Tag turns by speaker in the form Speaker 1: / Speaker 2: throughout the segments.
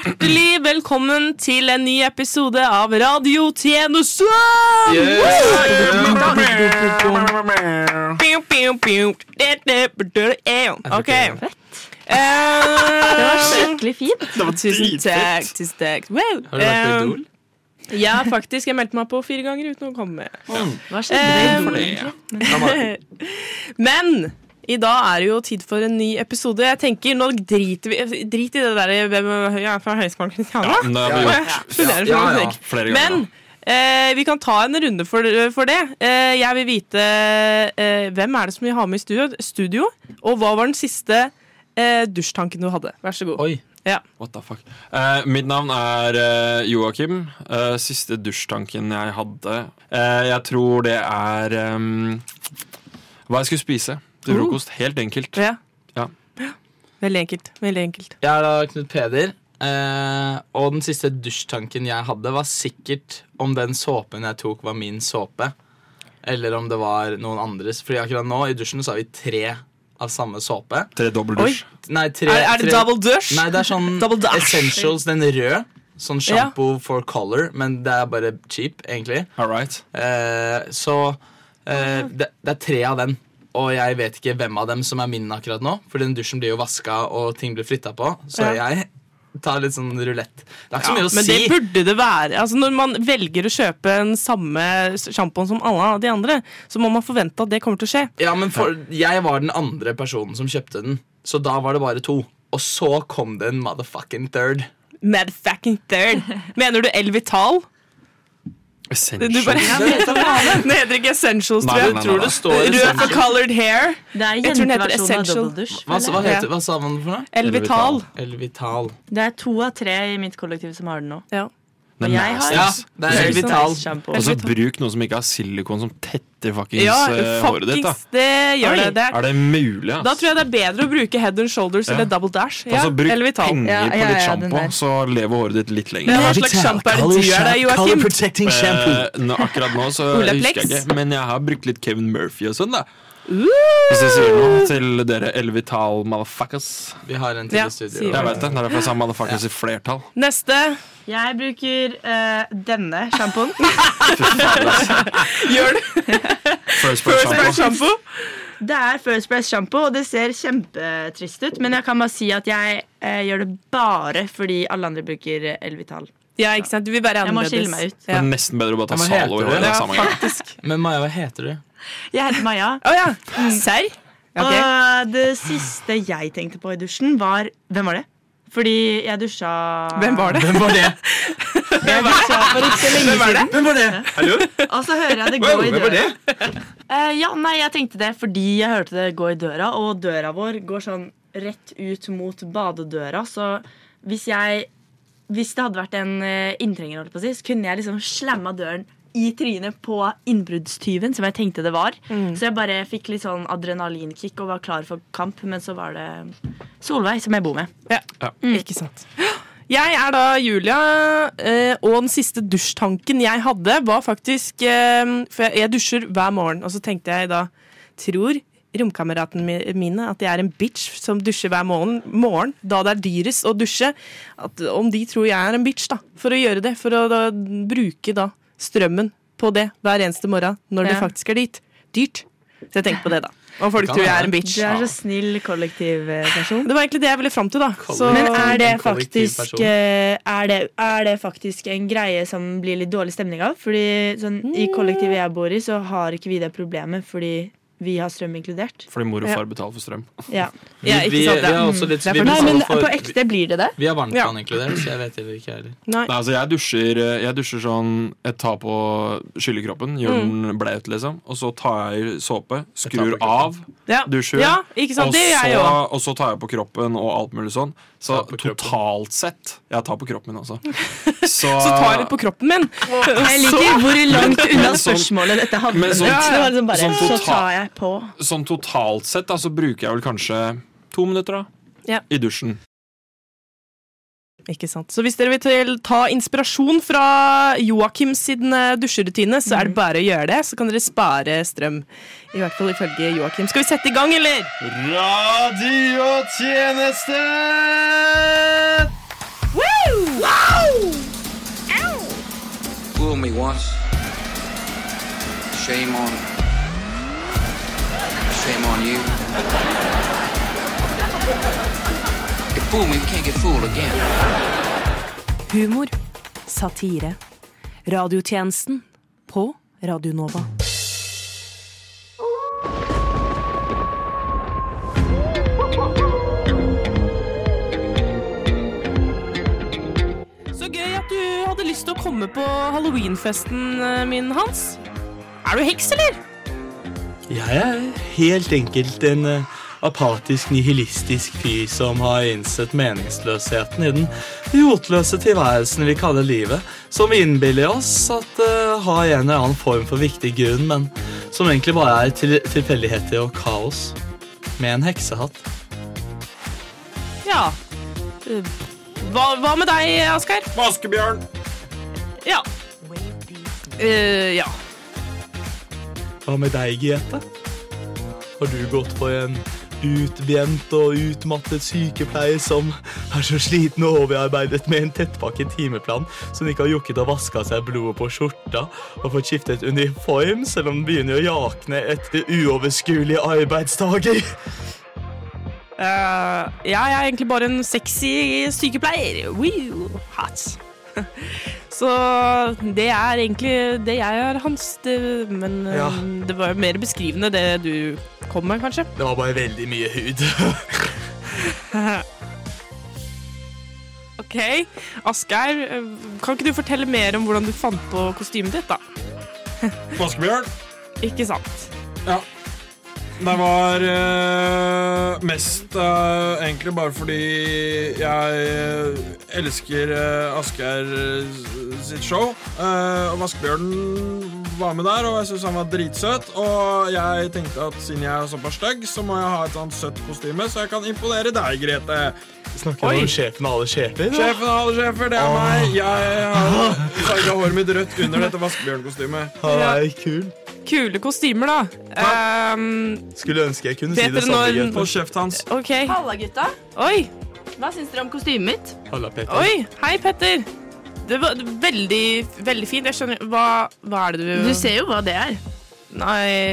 Speaker 1: Hjertelig velkommen til en ny episode av Radiotjeneste! Pew, pew, pew. Det, det, det, eh, Ok.
Speaker 2: Det var
Speaker 1: Eh,
Speaker 2: skikkelig fint.
Speaker 1: Tusen takk. Tusen takk. Wow.
Speaker 3: Har du vært på
Speaker 1: Eh,
Speaker 3: Idol?
Speaker 1: Ja, faktisk. Jeg meldte meg på fire ganger uten å komme med.
Speaker 2: Hva skjedde med
Speaker 1: Eh,
Speaker 2: Idol,
Speaker 3: det,
Speaker 2: egentlig?
Speaker 1: Men i dag er det jo tid for en ny episode. Jeg tenker, Nå driter vi drit i det der hvem ja, fra Høgskolen Kristiania.
Speaker 3: Ja, men det har vi gjort
Speaker 1: Studerer
Speaker 4: Ja, ja.
Speaker 1: journalistikk.
Speaker 3: flere ganger.
Speaker 1: Men eh, vi kan ta en runde for, for det. Eh, jeg vil vite eh, hvem er det som vi har med i studio, studio og hva var den siste eh, dusjtanken du hadde? Vær så god.
Speaker 3: Oi.
Speaker 1: Ja.
Speaker 3: What the fuck. Eh, mitt navn er eh, Joakim. Eh, siste dusjtanken jeg hadde eh, Jeg tror det er ehm, hva jeg skulle spise til frokost. Helt enkelt.
Speaker 1: Ja.
Speaker 3: Ja.
Speaker 1: Veldig enkelt. Veldig enkelt.
Speaker 4: Jeg er da Knut Peder. Eh, og den siste dusjtanken jeg hadde, var sikkert om den såpen jeg tok, var min såpe. Eller om det var noen andres. Fordi akkurat nå i dusjen så har vi tre av samme såpe.
Speaker 3: Tre dobbel dusj.
Speaker 4: Nei, tre,
Speaker 1: Er, er det
Speaker 4: tre-
Speaker 1: double dusj?
Speaker 4: Nei, det er sånn
Speaker 1: Double dash.
Speaker 4: Essentials, den røde. Sånn shampoo for color, men det er bare cheap, egentlig.
Speaker 3: All right.
Speaker 4: Eh, så eh, det, det er tre av den. Og jeg vet ikke hvem av dem som er min akkurat nå. For den dusjen blir jo vaska, og ting blir flytta på. Så
Speaker 1: Ja.
Speaker 4: jeg tar litt sånn rulett. Det er ikke så mye å
Speaker 1: Men
Speaker 4: si.
Speaker 1: det burde det være. Altså Når man velger å kjøpe den samme sjampoen som alle de andre, så må man forvente at det kommer til å skje.
Speaker 4: Ja, men for, jeg var den andre personen som kjøpte den, så da var det bare to. Og så kom det en motherfucking third.
Speaker 1: Mad fucking third. Mener du Elvital? Du
Speaker 3: Essential.
Speaker 1: bare, Den heter ikke Essentials, tror
Speaker 3: Nei,
Speaker 1: jeg.
Speaker 3: nei, nei,
Speaker 4: Tror det
Speaker 3: nei.
Speaker 4: står sånn.
Speaker 1: Rød for
Speaker 4: essential.
Speaker 1: colored hair.
Speaker 2: Det er
Speaker 1: Jeg tror den heter
Speaker 2: jenteversjonen av
Speaker 1: Essential.
Speaker 2: dobbeldusj.
Speaker 4: Hva,
Speaker 2: føler
Speaker 4: hva,
Speaker 2: jeg.
Speaker 4: heter, hva sa man for noe?
Speaker 1: Elvital.
Speaker 3: Elvital.
Speaker 4: Elvital.
Speaker 2: Det er to av tre i mitt kollektiv som har den nå.
Speaker 1: Ja.
Speaker 3: Den
Speaker 2: Jeg har-
Speaker 4: Ja,
Speaker 3: nasties.
Speaker 4: det er Elvital.
Speaker 2: Nice shampoo.
Speaker 3: Og så bruk noe som ikke har silikon som tetter fuckings
Speaker 1: Ja,
Speaker 3: eh, håret ditt. da
Speaker 1: fuckings, det gjør
Speaker 2: Oi.
Speaker 1: det. det er,
Speaker 3: Er det mulig? ass?
Speaker 1: da tror jeg det er bedre å bruke head and shoulders
Speaker 3: Ja.
Speaker 1: eller double dash. Ja,
Speaker 3: altså, bruk
Speaker 1: eller vital.
Speaker 3: penger
Speaker 2: Ja, ja,
Speaker 3: på litt
Speaker 2: ja, den
Speaker 3: sjampo,
Speaker 2: der.
Speaker 3: så lever håret ditt litt lenger.
Speaker 1: Men hva slags sjampo er det du gjør deg, Joakim?
Speaker 5: protecting
Speaker 3: Eh, nå, akkurat nå så
Speaker 1: Olaplex.
Speaker 3: husker jeg ikke, men jeg har brukt litt Kevin Murphy og sånn, da. Hvis jeg sier noe til dere Elvital motherfuckers.
Speaker 4: Vi har en til
Speaker 1: Ja,
Speaker 4: i studio.
Speaker 1: sier
Speaker 3: Jeg vet det, det er derfor jeg sa motherfuckers i flertall.
Speaker 1: Neste.
Speaker 2: Jeg bruker eh, denne sjampoen.
Speaker 1: Gjør du first
Speaker 3: First person
Speaker 1: brush
Speaker 3: sjampo.
Speaker 1: shampoo?
Speaker 2: Det er First Price sjampo, og det ser kjempetrist ut. Men jeg kan bare si at jeg eh, gjør det bare fordi alle andre bruker eh, Elvital.
Speaker 1: Ja, ikke sant? Du vil være
Speaker 2: Jeg må
Speaker 1: annerledes.
Speaker 2: skille meg ut.
Speaker 3: Det
Speaker 1: Ja.
Speaker 3: er nesten bedre å bare ta
Speaker 4: Men hva
Speaker 3: Zalo i
Speaker 4: heter
Speaker 3: håret.
Speaker 4: det?
Speaker 3: da,
Speaker 1: Ja,
Speaker 3: samme gang.
Speaker 1: faktisk.
Speaker 4: Men Maja, hva heter du?
Speaker 2: Jeg heter Maja.
Speaker 1: Å ja.
Speaker 3: Mm.
Speaker 1: Serr? Ah. Ok.
Speaker 2: Og det siste jeg tenkte på i dusjen, var Hvem var det? Fordi jeg dusja
Speaker 1: Hvem var det?
Speaker 4: Hvem var det?
Speaker 2: Jeg dusja for ikke så lenge siden.
Speaker 4: Hvem var det? Hallo?
Speaker 2: Og så hører jeg det gå i døra. Eh, ja, nei, jeg tenkte det fordi jeg hørte det gå i døra, og døra vår går sånn rett ut mot badedøra, så hvis jeg Hvis det hadde vært en eh, inntrenger, holdt jeg på å si, så kunne jeg liksom slamma døren i trynet på innbruddstyven, som jeg tenkte det var. Så jeg bare fikk litt sånn adrenalinkick og var klar for kamp, men så var det Solveig, som jeg bor med.
Speaker 1: Ikke sant. Mm. Jeg er da Julia, eh, og den siste dusjtanken jeg hadde, var faktisk eh, For jeg- jeg dusjer hver morgen, og så tenkte jeg da Tror romkameratene mi- mine at jeg er en bitch som dusjer hver morgen, morgen da det er dyrest å dusje? At, om de tror jeg er en bitch, da, for å gjøre det. For å da, bruke da strømmen på det hver eneste morgen når det
Speaker 2: Ja.
Speaker 1: faktisk er dit. dyrt. Så jeg tenker på det, da. Om folk
Speaker 4: Kan
Speaker 1: tror jeg er
Speaker 4: være.
Speaker 1: en bitch.
Speaker 2: Du er så snill kollektivperson.
Speaker 1: Det var egentlig det jeg ville fram til, da. Så-
Speaker 2: Men er det,
Speaker 4: en kollektiv
Speaker 2: faktisk,
Speaker 4: person.
Speaker 2: eh, er, det, er det faktisk en greie som blir litt dårlig stemning av? Fordi sånn, I kollektivet jeg bor i, så har ikke vi det problemet, fordi vi har strøm inkludert.
Speaker 3: Fordi mor og
Speaker 1: Ja.
Speaker 3: far betaler for strøm.
Speaker 2: Ja.
Speaker 1: Ja, ikke
Speaker 4: vi,
Speaker 1: sant,
Speaker 4: vi
Speaker 1: ja.
Speaker 4: har også litt
Speaker 1: Det er
Speaker 4: vi
Speaker 1: for-
Speaker 2: Nei,
Speaker 4: betaler
Speaker 2: men
Speaker 4: for-
Speaker 2: på ekte blir det det.
Speaker 4: Vi har varmtvann inkludert, så jeg vet heller ikke heller.
Speaker 1: Nei.
Speaker 3: Nei, altså jeg dusjer, jeg dusjer sånn Jeg tar på skyllekroppen, gjør den blaut, liksom. Og så tar jeg såpe, skrur
Speaker 4: på kroppen.
Speaker 3: av,
Speaker 1: Ja.
Speaker 3: dusjer.
Speaker 1: Ja, ikke sant?
Speaker 3: og,
Speaker 1: Det gjør jeg
Speaker 3: så,
Speaker 1: òg.
Speaker 3: og så tar jeg på kroppen og alt mulig sånn. Så
Speaker 4: Ta på kroppen.
Speaker 3: totalt sett Jeg tar på kroppen min også. Så,
Speaker 1: Så tar jeg litt på kroppen min.
Speaker 2: Jeg liker hvor langt unna
Speaker 3: Men sånn-
Speaker 2: spørsmålet dette havnet.
Speaker 3: Men sånn-
Speaker 2: det var liksom bare,
Speaker 3: sånn
Speaker 2: så
Speaker 3: total-
Speaker 2: tar jeg på.
Speaker 3: Sånn totalt sett da, så bruker jeg vel kanskje to minutter da
Speaker 1: Ja.
Speaker 3: i dusjen.
Speaker 1: Ikke sant? Så hvis dere vil til- ta inspirasjon fra Joakim sin eh, dusjerutine, så er
Speaker 2: Mm.
Speaker 1: det bare å gjøre det. Så kan dere spare strøm. I hvert fall ifølge Joakim. Skal vi sette i gang, eller?
Speaker 3: Radiotjeneste!
Speaker 1: Woo!
Speaker 6: us. Shame on. Shame on you. You fooled me, we can't get fooled again.
Speaker 7: Humor. Satire. Radiotjenesten på Radio Nova.
Speaker 1: Så gøy at du hadde lyst til å komme på halloweenfesten eh, min, Hans. Er du heks, eller?
Speaker 4: Jeg er helt enkelt en eh, apatisk, nihilistisk fyr som har innsett meningsløsheten i den rotløse tilværelsen vi kaller livet, som vi innbiller oss at eh, har en eller annen form for viktig grunn, men som egentlig bare er til tilfeldigheter og kaos. Med en heksehatt.
Speaker 1: Ja. Eh, Hva, hva med deg, Asgeir?
Speaker 3: Vaskebjørn!
Speaker 1: Ja. Eh, ja.
Speaker 4: Hva med deg, Grete? Har du gått for en utbrent og utmattet sykepleier som er så sliten og overarbeidet med en tettpakket timeplan som ikke har jukket å vaske av seg blodet på skjorta og fått skiftet uniform selv om den begynner å jakne etter uoverskuelige arbeidsdager?
Speaker 1: Eh, ja, jeg er egentlig bare en sexy sykepleier. Wow, hot. Så det er egentlig det jeg er, Hans. Det, men eh,
Speaker 4: Ja.
Speaker 1: det var jo mer beskrivende det du kom med, kanskje.
Speaker 4: Det var bare veldig mye hud.
Speaker 1: Ok, Asgeir, eh, kan ikke du fortelle mer om hvordan du fant på kostymet ditt, da?
Speaker 3: Vaskebjørn!
Speaker 1: Ikke sant?
Speaker 3: Det var eh, mest eh, egentlig bare fordi jeg eh, elsker uh, Asgeir eh, s- sitt show. Eh, og Vaskebjørnen var med der, og jeg syntes han var dritsøt. Og jeg tenkte at siden jeg er såpass stygg, så må jeg ha et sånt søtt kostyme, så jeg kan imponere deg, Grete.
Speaker 4: Snakker
Speaker 1: Oi.
Speaker 4: du om sjefen av alle sjefer? da?
Speaker 3: Sjefen av alle sjefer, det er meg. Jeg har farga håret mitt rødt under dette Vaskebjørn-kostymet.
Speaker 4: Han er kul.
Speaker 1: Kule kostymer, da. Ehm,
Speaker 4: Skulle ønske jeg kunne si
Speaker 1: Bedre
Speaker 4: det samme,
Speaker 1: når-
Speaker 3: På
Speaker 4: Grete.
Speaker 3: kjeftet hans.
Speaker 1: ok.
Speaker 2: Halla, gutta.
Speaker 1: Oi,
Speaker 2: Hva syns dere om kostymet mitt?
Speaker 4: Halla, Petter.
Speaker 1: oi. Hei, Petter. Det var veldig, veldig fint. Jeg skjønner Hva, hva er det du
Speaker 2: Du ser jo hva det er.
Speaker 1: Nei,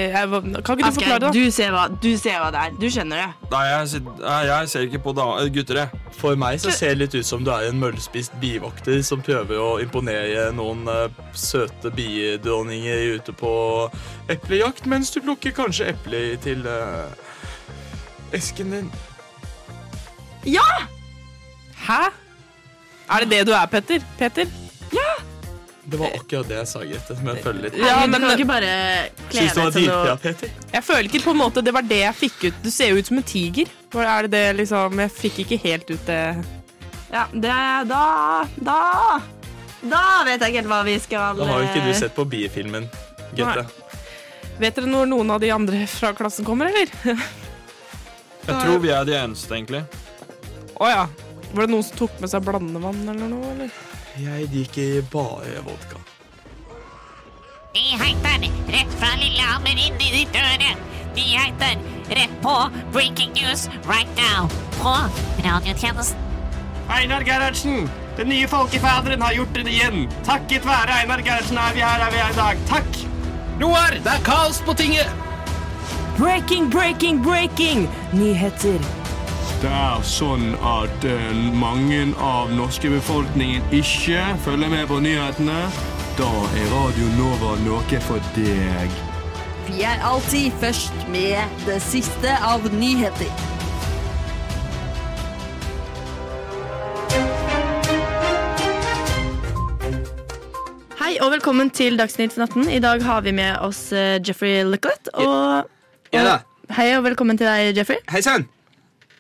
Speaker 1: jeg, var- kan ikke du forklare det?
Speaker 2: Asgeir,
Speaker 1: da?
Speaker 2: du, ser hva- du ser hva det er. Du skjønner det.
Speaker 3: Nei, jeg, sit- nei, jeg ser ikke på da, gutter, jeg.
Speaker 4: For meg så ser det litt ut som du er en møllspist bivokter som prøver å imponere noen eh, søte biedronninger ute på eplejakt, mens du plukker kanskje epler til eh, esken din.
Speaker 1: Hæ? Er det det du er, Petter? Petter?
Speaker 4: Det var akkurat det jeg sa, Grete. Men følg litt.
Speaker 1: Ja,
Speaker 2: Herregud,
Speaker 1: men-
Speaker 2: du kan ikke bare kle
Speaker 4: Syns du det
Speaker 2: deg som
Speaker 4: var dritbra,
Speaker 2: noe
Speaker 4: Peter?
Speaker 1: Jeg føler ikke på en måte det var det jeg fikk ut. Du ser jo ut som en tiger. Hva Er det det liksom Jeg fikk ikke helt ut det
Speaker 2: Ja, det Da Da Da vet jeg ikke helt hva vi skal eh,
Speaker 4: Da har jo ikke du sett på biefilmen, Grete.
Speaker 1: Vet dere når noen av de andre fra klassen kommer, eller?
Speaker 3: Jeg tror vi er de eneste, egentlig.
Speaker 1: Å ja. Var det noen som tok med seg blandevann eller noe? Eller?
Speaker 4: Jeg liker bare vodka.
Speaker 8: De heiter rett fra Lillehammer inn i ditt øre. De heiter rett på Breaking News Right Now på radiotjenesten.
Speaker 9: Einar Gerhardsen! Den nye folkefaderen har gjort det igjen. Takket være Einar Gerhardsen er vi her er vi er i dag. Takk!
Speaker 10: Roar, det er kaos på tinget!
Speaker 7: Breaking, breaking, breaking! Nyheter.
Speaker 9: Det er sånn at eh, mange av norske befolkningen ikke følger med på nyhetene. Da er Radio Nova noe for deg.
Speaker 11: Vi er alltid først med det siste av nyheter.
Speaker 2: Hei og velkommen til Dagsnytt for natten. I dag har vi med oss eh, Jeffrey Licklet. Og,
Speaker 10: Ja da.
Speaker 2: og hei og velkommen til deg, Jeffrey.
Speaker 10: Hei sann!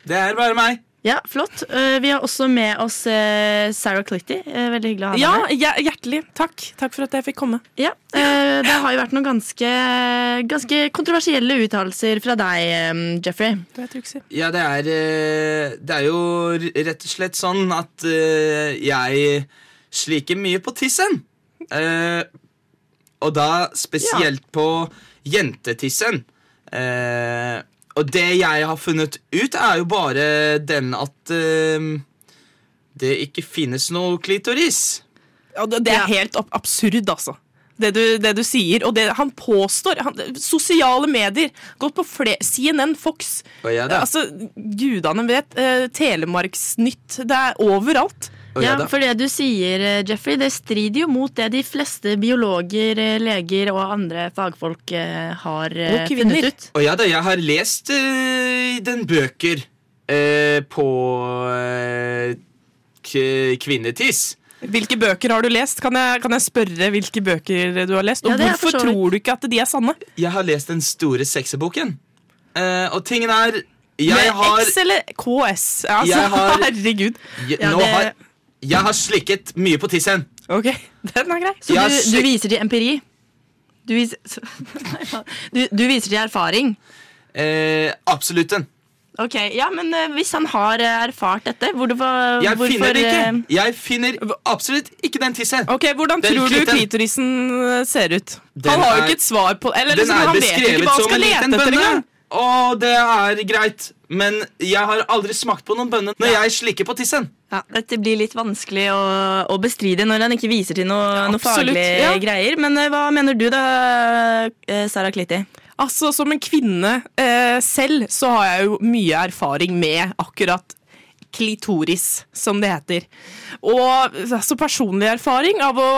Speaker 10: Det er bare meg.
Speaker 2: Ja, flott. Eh, Vi har også med oss eh, Sarah Clitty. Eh, Veldig hyggelig å ha deg
Speaker 1: Ja,
Speaker 2: her.
Speaker 1: hjer- hjertelig. Takk. Takk for at jeg fikk komme.
Speaker 2: Ja, eh, det har jo vært noen ganske, ganske kontroversielle uttalelser fra deg, eh, Jeffrey.
Speaker 1: Det er truksi.
Speaker 10: Ja, det er, eh, det er jo r- rett og slett sånn at eh, jeg sliker mye på tissen. Eh, og da spesielt på jentetissen. Eh, og det jeg har funnet ut, er jo bare den at eh, det ikke finnes noe klitoris.
Speaker 1: Ja, det, det er
Speaker 2: Ja.
Speaker 1: helt ab absurd, altså. det du, det du sier, og det han påstår. Han, sosiale medier. Gått på flere CNN, Fox
Speaker 10: Og jeg da?
Speaker 1: Altså, Gudene vet. eh, Telemarksnytt. Det er overalt.
Speaker 10: Og jeg
Speaker 2: Ja,
Speaker 10: da?
Speaker 2: for det du sier, eh, Jeffrey, det strider jo mot det de fleste biologer, eh, leger og andre fagfolk eh, har eh,
Speaker 1: Og kvinner.
Speaker 2: funnet ut.
Speaker 10: Og ja da, jeg har lest eh, den bøker eh, på eh, k kvinnetiss.
Speaker 1: Hvilke bøker har du lest? Kan jeg, kan jeg spørre hvilke bøker du har lest? Og
Speaker 2: Ja, det er for
Speaker 1: hvorfor
Speaker 2: så vidt-
Speaker 1: tror du ikke at de er sanne?
Speaker 10: Jeg har lest den store sexeboken. Eh, og tingen er Jeg
Speaker 1: Med
Speaker 10: har
Speaker 1: X eller KS? Altså,
Speaker 10: Jeg har-
Speaker 1: Herregud.
Speaker 10: jeg,
Speaker 2: Ja,
Speaker 10: Nå
Speaker 2: det-
Speaker 10: har Jeg har slikket mye på tissen.
Speaker 1: Ok, den er grei.
Speaker 2: Så
Speaker 10: Jeg har
Speaker 2: du, du
Speaker 10: sjek-
Speaker 2: viser til empiri? Du, vis, du, du viser til erfaring?
Speaker 10: Eh, absolutt en.
Speaker 2: Ok, ja, men eh, hvis han har eh, erfart dette, hvor, hvor,
Speaker 10: Jeg
Speaker 2: hvorfor
Speaker 10: finner det
Speaker 2: eh,
Speaker 10: ikke. Jeg finner absolutt ikke den tissen.
Speaker 1: Ok, Hvordan
Speaker 10: Den
Speaker 1: tror du
Speaker 10: klitten.
Speaker 1: klitorisen eh, ser ut?
Speaker 10: Den
Speaker 1: han har jo
Speaker 10: er-
Speaker 1: ikke et svar på Eller
Speaker 10: Den
Speaker 1: liksom,
Speaker 10: er
Speaker 1: han vet jo ikke
Speaker 10: beskrevet
Speaker 1: hva han
Speaker 10: som
Speaker 1: skal
Speaker 10: en
Speaker 1: lete
Speaker 10: liten
Speaker 1: etter
Speaker 10: bønne.
Speaker 1: engang.
Speaker 10: Og det er greit, men jeg har aldri smakt på noen bønne når jeg slikker på tissen.
Speaker 2: ja, Dette blir litt vanskelig å, å bestride når han ikke viser til noe, noe
Speaker 1: absolutt,
Speaker 2: faglige
Speaker 1: ja.
Speaker 2: greier. Men eh, hva mener du da, eh, Sara Klitti?
Speaker 1: Altså, Som en kvinne eh, selv så har jeg jo mye erfaring med akkurat klitoris, som det heter. Og altså, personlig erfaring av å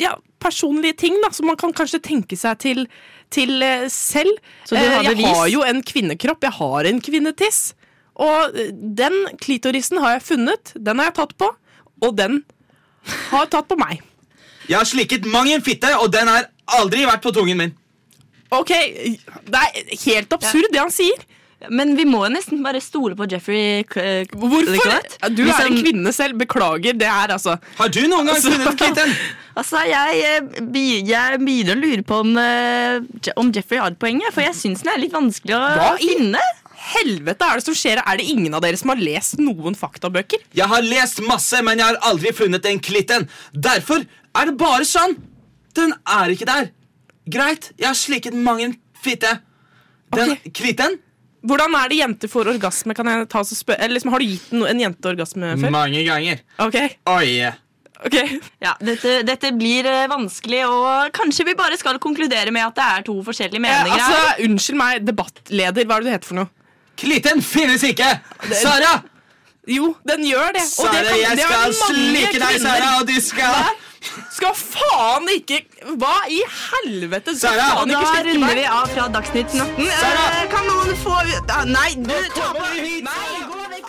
Speaker 1: Ja, personlige ting da, som man kan kanskje tenke seg til, til eh, selv.
Speaker 2: Så du har
Speaker 1: Eh, jeg
Speaker 2: bevis?
Speaker 1: har jo en kvinnekropp, jeg har en kvinnetiss. Og eh, den klitorisen har jeg funnet, den har jeg tatt på, og den har tatt på meg.
Speaker 10: Jeg har slikket mang en fitte, og den har aldri vært på tungen min.
Speaker 1: Ok, Det er helt absurd, det han sier.
Speaker 2: Men vi må jo nesten bare stole på Jeffrey. eh, Liksom,
Speaker 1: Hvorfor?
Speaker 2: Klett.
Speaker 1: Du
Speaker 2: Hvis
Speaker 1: er en
Speaker 10: Liksom-
Speaker 2: han-
Speaker 1: kvinne selv. Beklager, det er altså
Speaker 10: Har du noen gang funnet klitten?
Speaker 2: Altså, jeg, eh, be- jeg begynner å lure på om, eh, Je- om Jeffrey har et poeng, jeg, for jeg syns den er litt vanskelig å
Speaker 1: Hva i-
Speaker 2: finne.
Speaker 1: Helvete er det som skjer? Er det ingen av dere som har lest noen faktabøker?
Speaker 10: Jeg har lest masse, men jeg har aldri funnet den klitten. Derfor er det bare sånn. Den er ikke der. Greit, jeg har slikket mang en fitte. Den
Speaker 1: Ok.
Speaker 10: klitten?
Speaker 1: Hvordan er det jenter får orgasme? Kan jeg ta så spør Eller liksom, Har du gitt no en jente orgasme før?
Speaker 10: Mange ganger.
Speaker 1: Ok,
Speaker 10: Oi.
Speaker 1: ok
Speaker 2: Ja, dette, dette blir eh, vanskelig, og kanskje vi bare skal konkludere med at det er to forskjellige
Speaker 1: Eh,
Speaker 2: meninger.
Speaker 1: altså,
Speaker 2: her.
Speaker 1: Unnskyld meg, debattleder, hva er det du heter for noe?
Speaker 10: Klitten finnes ikke! Sara!
Speaker 1: Jo, den gjør det. Og det
Speaker 10: Sara,
Speaker 1: kan,
Speaker 10: jeg
Speaker 1: det har
Speaker 10: skal
Speaker 1: mange
Speaker 10: slike deg,
Speaker 1: kvinner-
Speaker 10: Sara, og du skal
Speaker 1: Skal faen ikke Hva i helvete? Skal
Speaker 10: Sara!
Speaker 1: faen
Speaker 2: da
Speaker 1: ikke slikke
Speaker 2: runder
Speaker 1: meg?
Speaker 2: vi av fra Dagsnytt 18.
Speaker 10: Sara!
Speaker 2: Eh, Kan noen få ah, Nei, du ta på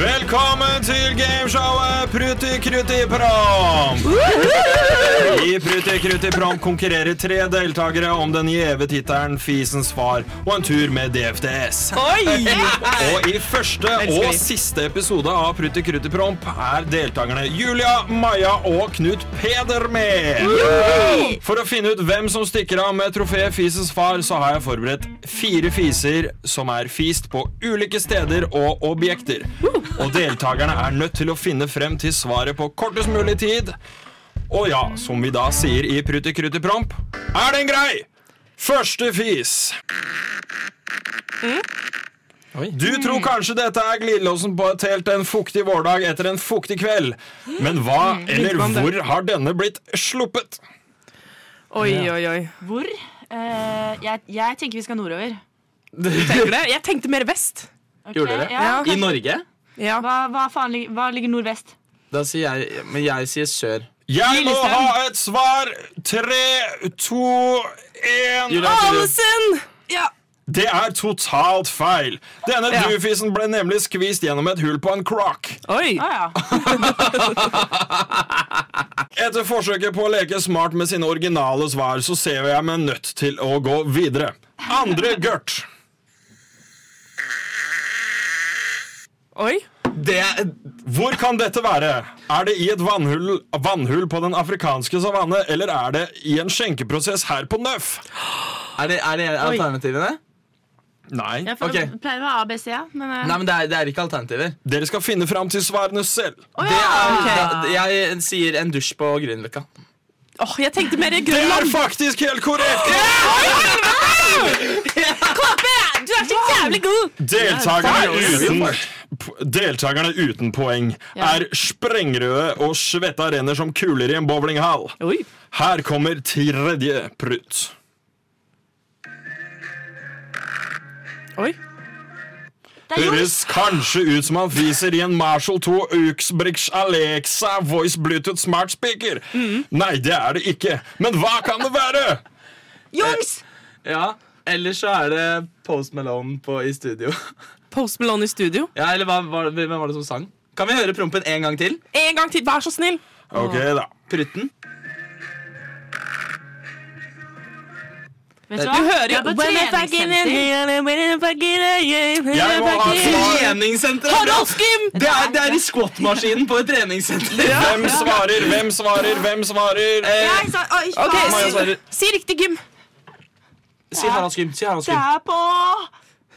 Speaker 3: Velkommen til gameshowet Prutti Krutti Prom! I Prutti Krutti Prom konkurrerer tre deltakere om den gjeve tittelen Fisens far og en tur med DFDS. Og i første
Speaker 1: Elsker
Speaker 3: og
Speaker 1: vi.
Speaker 3: siste episode av Prutti Krutti Promp er deltakerne Julia, Maja og Knut Peder med. For å finne ut hvem som stikker av med trofeet Fisens far, så har jeg forberedt fire fiser som er fist på ulike steder og objekter. Og deltakerne er nødt til å finne frem til svaret på kortest mulig tid. Og ja, som vi da sier i Prutti Krutti Promp, er den grei? Første fis. Du tror kanskje dette er glidelåsen på et telt en fuktig vårdag etter en fuktig kveld. Men hva eller hvor har denne blitt sluppet?
Speaker 1: Oi, oi, oi.
Speaker 2: Hvor? Eh, jeg, tenker vi skal nordover.
Speaker 1: Tenker det? Jeg tenkte mer vest.
Speaker 10: Gjorde dere?
Speaker 1: Ja.
Speaker 10: I Norge?
Speaker 1: Ja.
Speaker 2: Hva, ligger nordvest?
Speaker 10: Da sier jeg Men jeg sier sør.
Speaker 3: Jeg må
Speaker 2: Lillestrøm.
Speaker 3: ha et svar. Tre, to, én
Speaker 10: Julia, sier du-
Speaker 1: Ålesund!
Speaker 3: Det er totalt feil. Denne
Speaker 1: Ja.
Speaker 3: duefisen ble nemlig skvist gjennom et hull på en crock.
Speaker 1: Oi.
Speaker 3: Etter forsøket på å leke smart med sine originale svar, så ser jeg meg nødt til å gå videre. Andre gørt.
Speaker 1: Oi.
Speaker 10: Det
Speaker 3: Hvor kan dette være? Er det i et vannhull, vannhull på den afrikanske savanne, eller er det i en skjenkeprosess her på Nøff?
Speaker 10: Er det, er det alternativene?
Speaker 3: Nei.
Speaker 2: Jeg føler-
Speaker 10: Ok.
Speaker 2: pleier å være ABC, ja, men, eh,
Speaker 10: Nei, men det er, det er ikke alternativer.
Speaker 3: Dere skal finne fram til svarene selv.
Speaker 10: Det
Speaker 1: Ah,
Speaker 10: er, da, jeg sier en dusj på Grünerløkka.
Speaker 1: Åh, jeg tenkte mer
Speaker 3: Det er
Speaker 1: Grønland!
Speaker 3: faktisk helt korrekt!
Speaker 1: Kåpe! Du er så jævlig god!
Speaker 3: Deltakerne uten, deltakerne uten poeng
Speaker 1: Ja.
Speaker 3: er sprengrøde og svetta renner som kuler i en bowlinghall.
Speaker 1: Oi.
Speaker 3: Her kommer tredje prutt.
Speaker 1: Oi.
Speaker 3: Høres kanskje ut som han fiser i en Marshall 2 Uxbrix Alexa Voice Bluetooth Smart Speaker. Nei, det er det ikke. Men hva kan det være?
Speaker 1: Jungs!
Speaker 10: Ja, Eller så er det Post Malone på, i studio.
Speaker 1: Post Malone i studio.
Speaker 10: Ja, eller hva, var- Hvem var det som sang? Kan vi høre prompen en gang til?
Speaker 1: En gang til, vær så snill.
Speaker 3: Ok, da.
Speaker 10: Prutten.
Speaker 2: vet du
Speaker 1: Eh, Du
Speaker 2: hva?
Speaker 1: hører
Speaker 2: Vi
Speaker 1: jo
Speaker 2: er på
Speaker 1: When if I get in
Speaker 2: treningssenter.
Speaker 1: here, when if I get in here, when
Speaker 3: Jeg
Speaker 1: if
Speaker 3: må
Speaker 1: I
Speaker 3: ha
Speaker 1: get in here.
Speaker 10: Treningssenteret!
Speaker 1: Harald Skim!
Speaker 10: Det er, det er i squat-maskinen på et treningssenter.
Speaker 3: Hvem svarer, hvem svarer, hvem svarer?
Speaker 2: Jeg sa, oi,
Speaker 1: Ok,
Speaker 2: faen.
Speaker 10: Maja
Speaker 1: si,
Speaker 10: svarer.
Speaker 1: si riktig gym.
Speaker 10: Si Harald Skim. Si Harald
Speaker 2: Det
Speaker 10: Skim.
Speaker 2: er på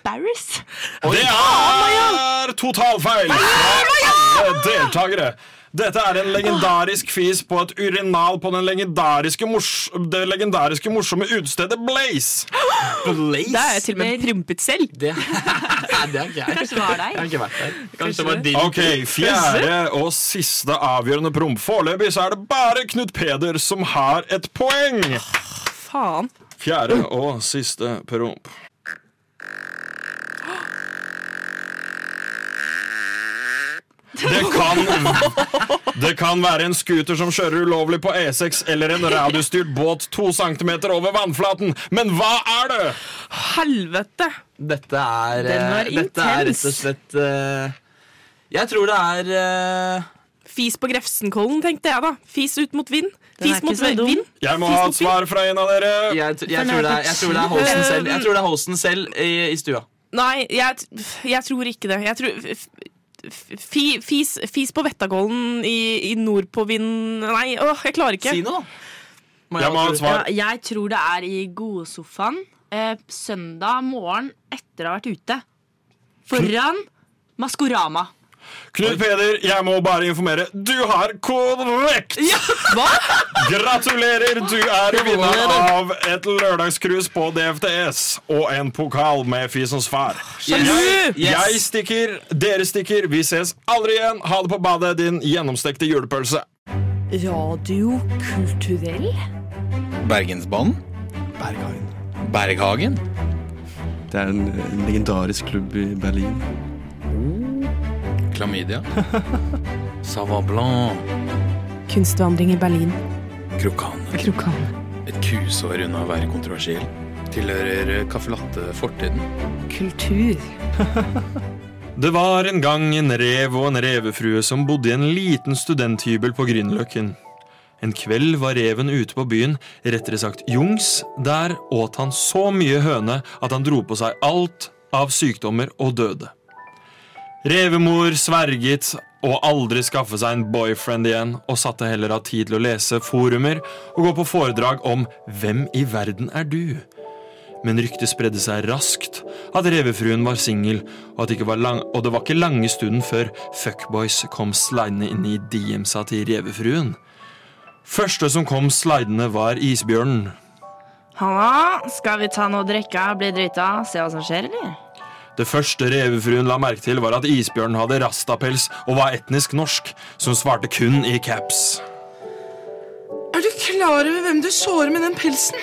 Speaker 2: Barris.
Speaker 3: Det er totalfeil fra alle deltakere. Dette er en legendarisk fis på et urinal på den legendariske mors det legendariske morsomme utestedet Blaze.
Speaker 1: Det har jeg til og med prompet selv.
Speaker 10: Det, Nei, det er ikke jeg.
Speaker 2: Kanskje det var deg.
Speaker 10: Jeg har ikke vært der. Kanskje det
Speaker 1: var
Speaker 10: var din.
Speaker 3: Ok, Fjerde og siste avgjørende promp. Foreløpig så er det bare Knut Peder som har et poeng.
Speaker 1: Faen.
Speaker 3: Fjerde og siste promp. Det kan, det kan være en scooter som kjører ulovlig på E6, eller en radiostyrt båt to centimeter over vannflaten. Men hva er det?
Speaker 1: Helvete.
Speaker 10: Dette er
Speaker 1: Den var
Speaker 10: eh, Dette er
Speaker 1: intens.
Speaker 10: rett og slett eh, Jeg tror det er eh,
Speaker 1: Fis på Grefsenkollen, tenkte jeg da. Fis ut mot vind. Fis
Speaker 2: ikke
Speaker 1: mot
Speaker 2: så dum.
Speaker 1: vind.
Speaker 3: Jeg må ha et svar fra en av dere.
Speaker 10: jeg, tr- jeg, tror det er, jeg tror det er hosten selv Jeg tror det er hosten selv i, i stua.
Speaker 1: Nei, jeg, t- jeg tror ikke det. Jeg tror f- f- fi, fis, fis på Vettakollen i, i nord på vind Nei, åh, jeg klarer ikke.
Speaker 10: Si noe, da. Må
Speaker 3: Jeg må ha
Speaker 10: tror-
Speaker 3: et svar.
Speaker 2: Ja, jeg tror det er i godsofaen eh, søndag morgen etter å ha vært ute. Foran Maskorama.
Speaker 3: Knut Peder, jeg må bare informere. Du har korrekt! Gratulerer! Du er vinner av et lørdagscruise på DFTS og en pokal med Fisens far. Jeg, jeg stikker, dere stikker. Vi ses aldri igjen. Ha det på badet, din gjennomstekte julepølse.
Speaker 7: Radio kulturell.
Speaker 12: Bergensbanen. Berghagen.
Speaker 9: Det er en, en legendarisk klubb i Berlin.
Speaker 12: Klamydia. Savant Blanc.
Speaker 7: Kunstvandring i Berlin.
Speaker 12: Krokane.
Speaker 7: Krokan.
Speaker 12: Et kusår unna å være kontroversiell. Tilhører caffè latte-fortiden.
Speaker 7: Kultur.
Speaker 3: Det var en gang en rev og en revefrue som bodde i en liten studenthybel på Grünerløkken. En kveld var reven ute på byen, rettere sagt Jungs. Der åt han så mye høne at han dro på seg alt av sykdommer og døde. Revemor sverget å aldri skaffe seg en boyfriend igjen, og satte heller av tid til å lese forumer og gå på foredrag om Hvem i verden er du? Men ryktet spredde seg raskt at revefruen var singel, og, at det ikke var lang- og det var ikke lange stunden før fuckboys kom slidende inn i DM-sa til revefruen. Første som kom slidende, var isbjørnen.
Speaker 2: Hanna, skal vi ta noe å drikke, bli drita, se hva som skjer, eller?
Speaker 3: Det første revefruen la merke til, var at isbjørnen hadde rastapels og var etnisk norsk, som svarte kun i caps.
Speaker 10: Er du klar over hvem du sårer med den pelsen?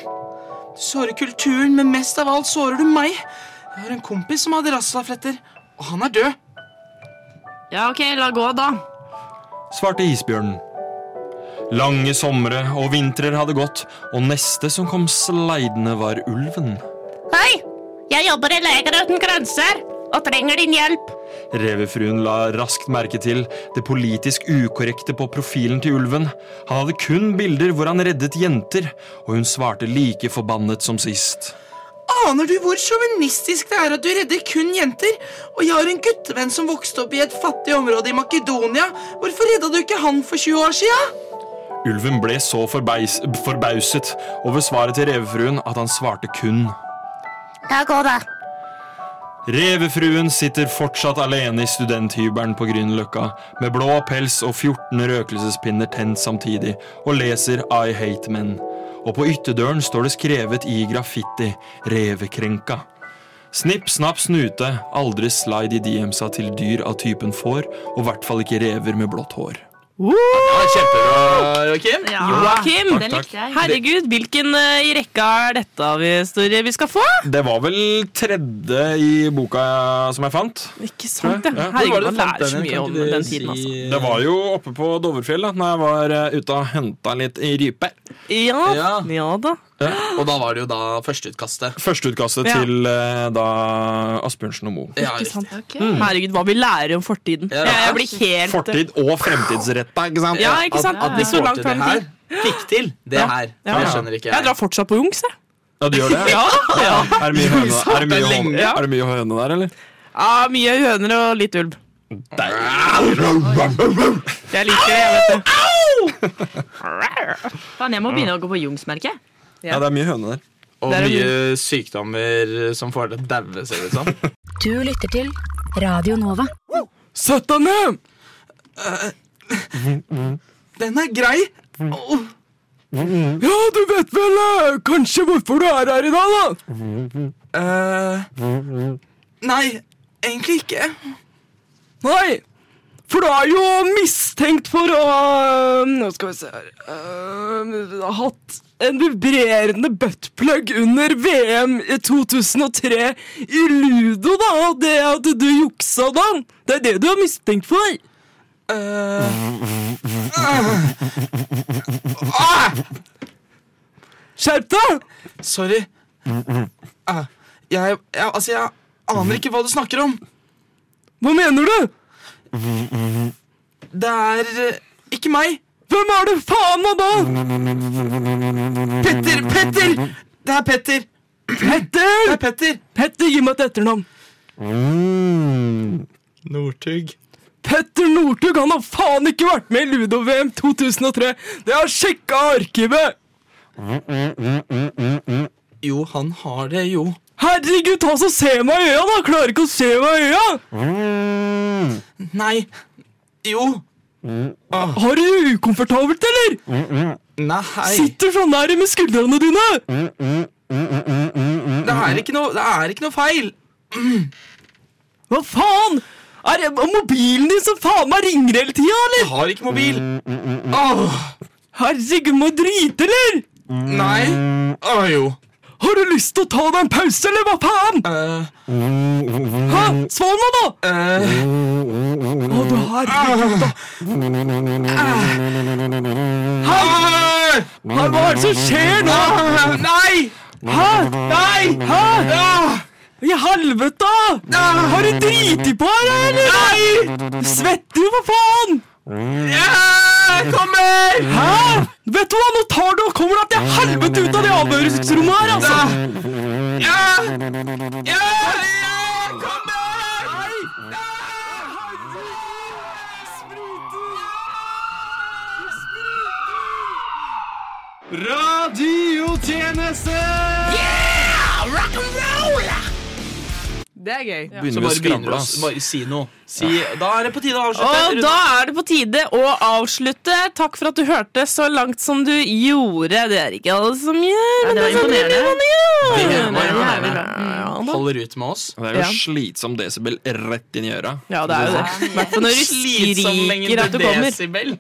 Speaker 10: Du sårer kulturen, men mest av alt sårer du meg. Jeg har en kompis som hadde rasslafletter, og han er død.
Speaker 2: Ja, ok, la gå, da.
Speaker 3: svarte isbjørnen. Lange somre og vintrer hadde gått, og neste som kom sleidende, var ulven.
Speaker 8: Hei! Jeg jobber i Leger uten grenser og trenger din hjelp.
Speaker 3: Revefruen la raskt merke til det politisk ukorrekte på profilen til ulven. Han hadde kun bilder hvor han reddet jenter, og hun svarte like forbannet som sist.
Speaker 10: Aner du hvor sjåvinistisk det er at du redder kun jenter? Og jeg har en guttevenn som vokste opp i et fattig område i Makedonia. Hvorfor redda du ikke han for 20 år sia?
Speaker 3: Ulven ble så forbeis forbauset over svaret til revefruen at han svarte kun.
Speaker 8: Da går det.
Speaker 3: Revefruen sitter fortsatt alene i studenthybelen på Grünerløkka, med blå pels og 14 røkelsespinner tent samtidig, og leser I Hate Men. Og på ytterdøren står det skrevet i graffiti Revekrenka. Snipp, snapp, snute, aldri slide i DM-sa til dyr av typen får, og i hvert fall ikke rever med blått hår.
Speaker 10: Ja, Kjempebra, Joakim.
Speaker 13: Ja. Joakim!
Speaker 3: Takk, takk.
Speaker 13: Herregud, hvilken eh, i rekka er dette av historier vi skal få?
Speaker 3: Det var vel tredje i boka som jeg fant.
Speaker 13: Ikke sant, ja. Herregud, man lærer så mye om den tiden, altså.
Speaker 3: Det var jo oppe på Dovrefjell da når jeg var eh, ute og henta litt rype.
Speaker 13: Ja, ja. da.
Speaker 10: Og da var det jo da førsteutkastet.
Speaker 3: Førsteutkastet
Speaker 13: Ja.
Speaker 3: til eh, da Asbjørnsen og Moe.
Speaker 13: Ikke sant?
Speaker 10: Mm.
Speaker 13: Herregud, hva vi lærer om fortiden.
Speaker 3: Ja.
Speaker 13: Jeg, jeg blir helt
Speaker 3: Fortid og fremtidsretta, ikke sant?
Speaker 13: Ja, ikke sant?
Speaker 10: At, at de
Speaker 13: Så
Speaker 10: får
Speaker 13: langt
Speaker 10: til
Speaker 13: fram
Speaker 10: det
Speaker 13: i
Speaker 10: her.
Speaker 13: tid.
Speaker 10: Fikk til det
Speaker 13: Ja.
Speaker 10: her.
Speaker 13: Ja.
Speaker 10: Det skjønner ikke
Speaker 13: Jeg
Speaker 10: jeg.
Speaker 13: drar fortsatt på Jungs, jeg.
Speaker 3: Ja, du gjør det?
Speaker 13: Ja.
Speaker 3: Er det mye høne, er det mye høne,
Speaker 13: Ja.
Speaker 3: er det mye høne der, eller?
Speaker 13: Ja, Ah, mye høner og litt ulv. Jeg liker det, jeg, vet du.
Speaker 2: Faen,
Speaker 1: Mm.
Speaker 2: jeg må begynne å gå på Jungs, merker jeg.
Speaker 3: Ja, det er mye høne der.
Speaker 10: Og
Speaker 2: Det er
Speaker 10: mye sykdommer som får deg til å daue, ser det sånn. ut som.
Speaker 8: Du lytter til Radio Nova.
Speaker 13: Sett deg ned!
Speaker 10: Den er grei!
Speaker 1: Ja, du vet vel eh, kanskje hvorfor du er her i dag, da? Eh,
Speaker 10: Nei, egentlig ikke.
Speaker 1: Nei, for du er jo mistenkt for å eh, Nå skal vi se her eh, Ha hatt en vibrerende buttplug under VM i 2003 i Ludo, da. Og det at du juksa, da. Det er det du er mistenkt for. Ah!
Speaker 10: Skjerp deg! Sorry. Eh, Jeg, jeg Altså, jeg aner ikke hva du snakker om. Hva mener du? Det er eh, ikke meg. Hvem er du faen meg da?
Speaker 1: Petter,
Speaker 10: Petter! Petter! Det er Petter.
Speaker 1: Petter!
Speaker 10: Det er Petter.
Speaker 1: Petter, gi meg et etternavn.
Speaker 14: Northug.
Speaker 1: Petter Northug han har faen ikke vært med i Ludo-VM 2003! Det har sjekka arkivet!
Speaker 10: Jo, han har det, jo.
Speaker 1: Herregud, ta så se meg i øya, da! Klarer ikke å se meg i øya!
Speaker 10: Nei. Jo.
Speaker 1: Har du det ukomfortabelt, eller?
Speaker 10: Nei.
Speaker 1: Sitter sånn der med skuldrene dine!
Speaker 10: Det er ikke noe, det er ikke noe feil.
Speaker 1: Hva faen? Er det mobilen din som faen meg ringer hele tida, eller?
Speaker 10: Jeg har ikke mobil.
Speaker 1: Åh, herregud, må jeg drite, eller?
Speaker 10: Nei. Å, jo.
Speaker 1: Har du lyst til å ta deg en pause, eller hva faen? Hæ? Svar meg, da! Å, du herregud, da. Hæ? Hæ, Hva er det som skjer nå?
Speaker 10: Nei!
Speaker 1: Hæ? Nei! Hæ? I helvete! Har du driti på deg, eller? Nei! Svetter jo, for faen! Jeg kommer! Hæ? Vet du hva, nå tar du og kommer deg til helvete ut av det avhøringsrommet her, altså! Ja! Ja!
Speaker 15: Radiotjeneste! Yeah! Rock and roll!
Speaker 13: Det er gøy.
Speaker 10: Så
Speaker 3: vi å
Speaker 10: bare begynner
Speaker 3: skravle,
Speaker 10: du å
Speaker 3: ass.
Speaker 10: bare si noe. Si, Da er det på tide å avslutte.
Speaker 13: Og da er det på tide å avslutte. Takk for at du hørte så langt som du gjorde. Det er ikke alle som gjør, men det er sånn veldig mange
Speaker 10: Vi
Speaker 13: gjør.
Speaker 10: gjør det, vi gjør det.
Speaker 13: da.
Speaker 10: Holder ut med oss.
Speaker 3: Det er jo slitsom desibel rett inn i øra.
Speaker 13: Ja, det er jo det. I hvert
Speaker 1: Sånn
Speaker 13: fall når du skriker at du kommer.
Speaker 10: Desibel.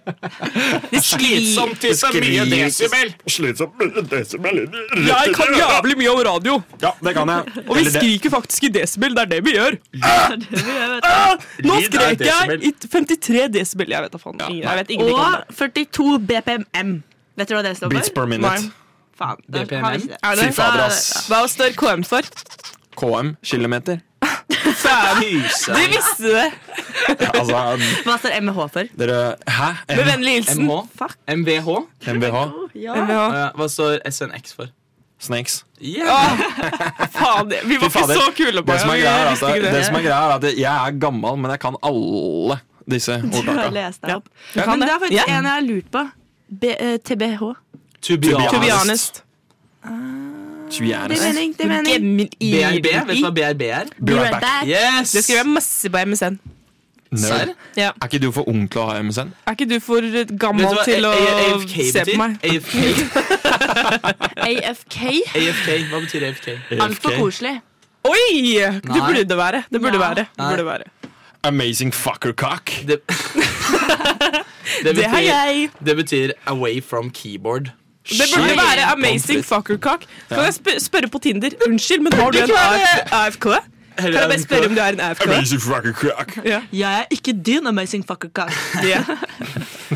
Speaker 13: Slitsomt
Speaker 3: Det skriker-
Speaker 1: Slitsomt mye desibel. Jeg kan jævlig mye om radio.
Speaker 3: Ja, det kan jeg.
Speaker 1: Og vi
Speaker 3: Eller det-
Speaker 1: skriker faktisk i desibel. Det er det vi gjør. Ah, Nå
Speaker 2: Lyd er
Speaker 1: skrek jeg
Speaker 2: desibel.
Speaker 1: i 53 desibel. Jeg vet da faen. Ingen- Jeg vet ingenting om det.
Speaker 2: Og 42 BPM. Vet dere hva det står for?
Speaker 1: Beats per minute.
Speaker 2: Nei. Faen, da
Speaker 3: BPM?
Speaker 2: har vi ikke det.
Speaker 3: Er det? Fy
Speaker 1: eh,
Speaker 3: fader, ass.
Speaker 13: Hva står KM for?
Speaker 3: KM, kilometer.
Speaker 13: Faen!
Speaker 3: Pyse.
Speaker 13: Du visste det!
Speaker 3: Ja, altså,
Speaker 2: Hva står MH for?
Speaker 3: dere Hæ? M-
Speaker 13: Med vennlig hilsen.
Speaker 10: MH? MVH?
Speaker 3: MBH.
Speaker 2: Ja.
Speaker 10: Eh, Hva står SNX for?
Speaker 3: Snakes.
Speaker 13: Faen, vi var
Speaker 3: Fy fader.
Speaker 13: ikke så kule på
Speaker 3: det. Som er
Speaker 13: Vi
Speaker 3: greia, er at
Speaker 13: visste ikke
Speaker 3: det.
Speaker 13: det.
Speaker 3: det som er greia er at jeg er gammel, men jeg kan alle disse
Speaker 2: Du har
Speaker 3: ordtaka.
Speaker 2: lest deg opp.
Speaker 3: Ja.
Speaker 2: Men det er faktisk
Speaker 13: Ja.
Speaker 2: en jeg har lurt på. B eh, TBH.
Speaker 3: To be honest.
Speaker 13: To be honest.
Speaker 3: To be honest.
Speaker 10: BRB? Vet du hva BRB er?
Speaker 1: Be right back.
Speaker 10: Yes!
Speaker 1: Det skriver jeg masse på MSN.
Speaker 3: Nerd.
Speaker 1: Ja.
Speaker 3: Er ikke du for ung til å ha MSN?
Speaker 1: Er ikke du for gammel
Speaker 3: Vet du hva
Speaker 1: til å
Speaker 3: A- A- AFK
Speaker 1: se på
Speaker 3: betyr?
Speaker 1: meg?
Speaker 2: AFK?
Speaker 10: AFK. Hva betyr AFK?
Speaker 2: Altfor koselig.
Speaker 1: Oi! Du
Speaker 3: Nei.
Speaker 1: burde det være. Det burde være. Det
Speaker 3: Nei.
Speaker 1: burde være.
Speaker 3: Amazing fuckercock.
Speaker 10: Det, Det
Speaker 1: Det har jeg.
Speaker 10: Det betyr away from keyboard.
Speaker 1: Det burde
Speaker 10: Shit.
Speaker 1: være amazing fuckercock. Kan
Speaker 10: Ja.
Speaker 1: jeg sp spørre på Tinder? Unnschild, men har du en
Speaker 10: Burde ikke være-
Speaker 1: AF AFK? Kan jeg bare spørre om du er en AFK?
Speaker 3: Amazing fuckercock.
Speaker 1: Ja.
Speaker 2: Jeg er ikke din amazing fucker cock.
Speaker 1: Ja.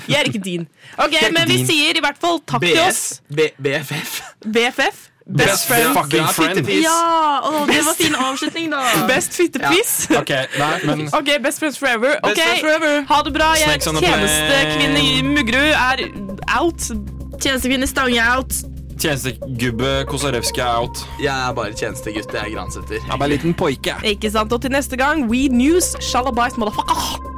Speaker 1: Jeg er ikke din. Ok,
Speaker 10: Jeg er ikke
Speaker 1: men vi
Speaker 10: din.
Speaker 1: sier i hvert fall takk til oss.
Speaker 10: B BFF.
Speaker 1: BFF.
Speaker 3: Best fucking friend.
Speaker 2: Ja, å, det var
Speaker 1: Best-
Speaker 2: fin avslutning, da.
Speaker 1: Best fittepis.
Speaker 3: Ok, nei, men
Speaker 1: Ok, Best Friends Forever. Ok,
Speaker 3: Best Friends
Speaker 1: Ha det bra. Jeg er
Speaker 3: Snakes on the plane.
Speaker 1: tjenestekvinne i Muggerud er out.
Speaker 2: Tjenestekvinne Stange er out.
Speaker 3: Tjenestegubbe Kosarewski er out.
Speaker 10: Jeg er bare tjenestegutt. Jeg er gransetter.
Speaker 3: Jeg er bare en liten poike.
Speaker 1: Ikke sant? Og til neste gang, weed news. Shalabais, motherfucker.